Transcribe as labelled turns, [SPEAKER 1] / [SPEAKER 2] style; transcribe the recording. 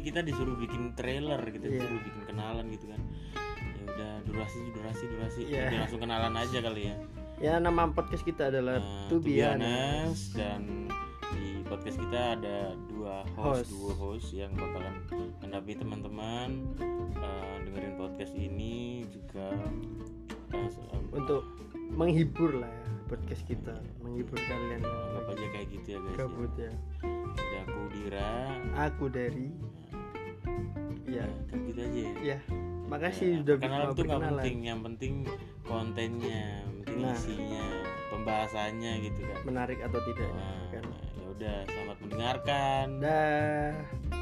[SPEAKER 1] kita disuruh bikin trailer gitu
[SPEAKER 2] Iya.
[SPEAKER 1] disuruh bikin kenalan gitu kan ya udah durasi durasi durasi
[SPEAKER 2] Iya.
[SPEAKER 1] udah langsung kenalan aja kali ya
[SPEAKER 2] Ya nama podcast kita adalah
[SPEAKER 1] Nah,
[SPEAKER 2] To
[SPEAKER 1] To
[SPEAKER 2] Be
[SPEAKER 1] Be
[SPEAKER 2] Honest.
[SPEAKER 1] Honest, dan di podcast kita ada dua
[SPEAKER 2] Host.
[SPEAKER 1] host, dua host yang bakalan mendampingi teman-teman eh, dengerin podcast ini juga eh, se- em,
[SPEAKER 2] untuk menghibur lah ya podcast kita, menghibur kalian yang
[SPEAKER 1] anggap
[SPEAKER 2] lagi
[SPEAKER 1] aja kayak gitu ya guys. Ya.
[SPEAKER 2] gabut ya.
[SPEAKER 1] Ada aku Dira.
[SPEAKER 2] Aku dari ya
[SPEAKER 1] Nah, kan gitu aja. Ya.
[SPEAKER 2] ya. Makasih udah
[SPEAKER 1] kenalan iya.
[SPEAKER 2] mau
[SPEAKER 1] tuh nggak
[SPEAKER 2] berkenalan.
[SPEAKER 1] penting, yang penting kontennya, yang penting
[SPEAKER 2] Nah.
[SPEAKER 1] isinya, pembahasannya gitu kan.
[SPEAKER 2] Menarik atau tidak
[SPEAKER 1] Nah,
[SPEAKER 2] kan.
[SPEAKER 1] ya udah, selamat mendengarkan.
[SPEAKER 2] Dah.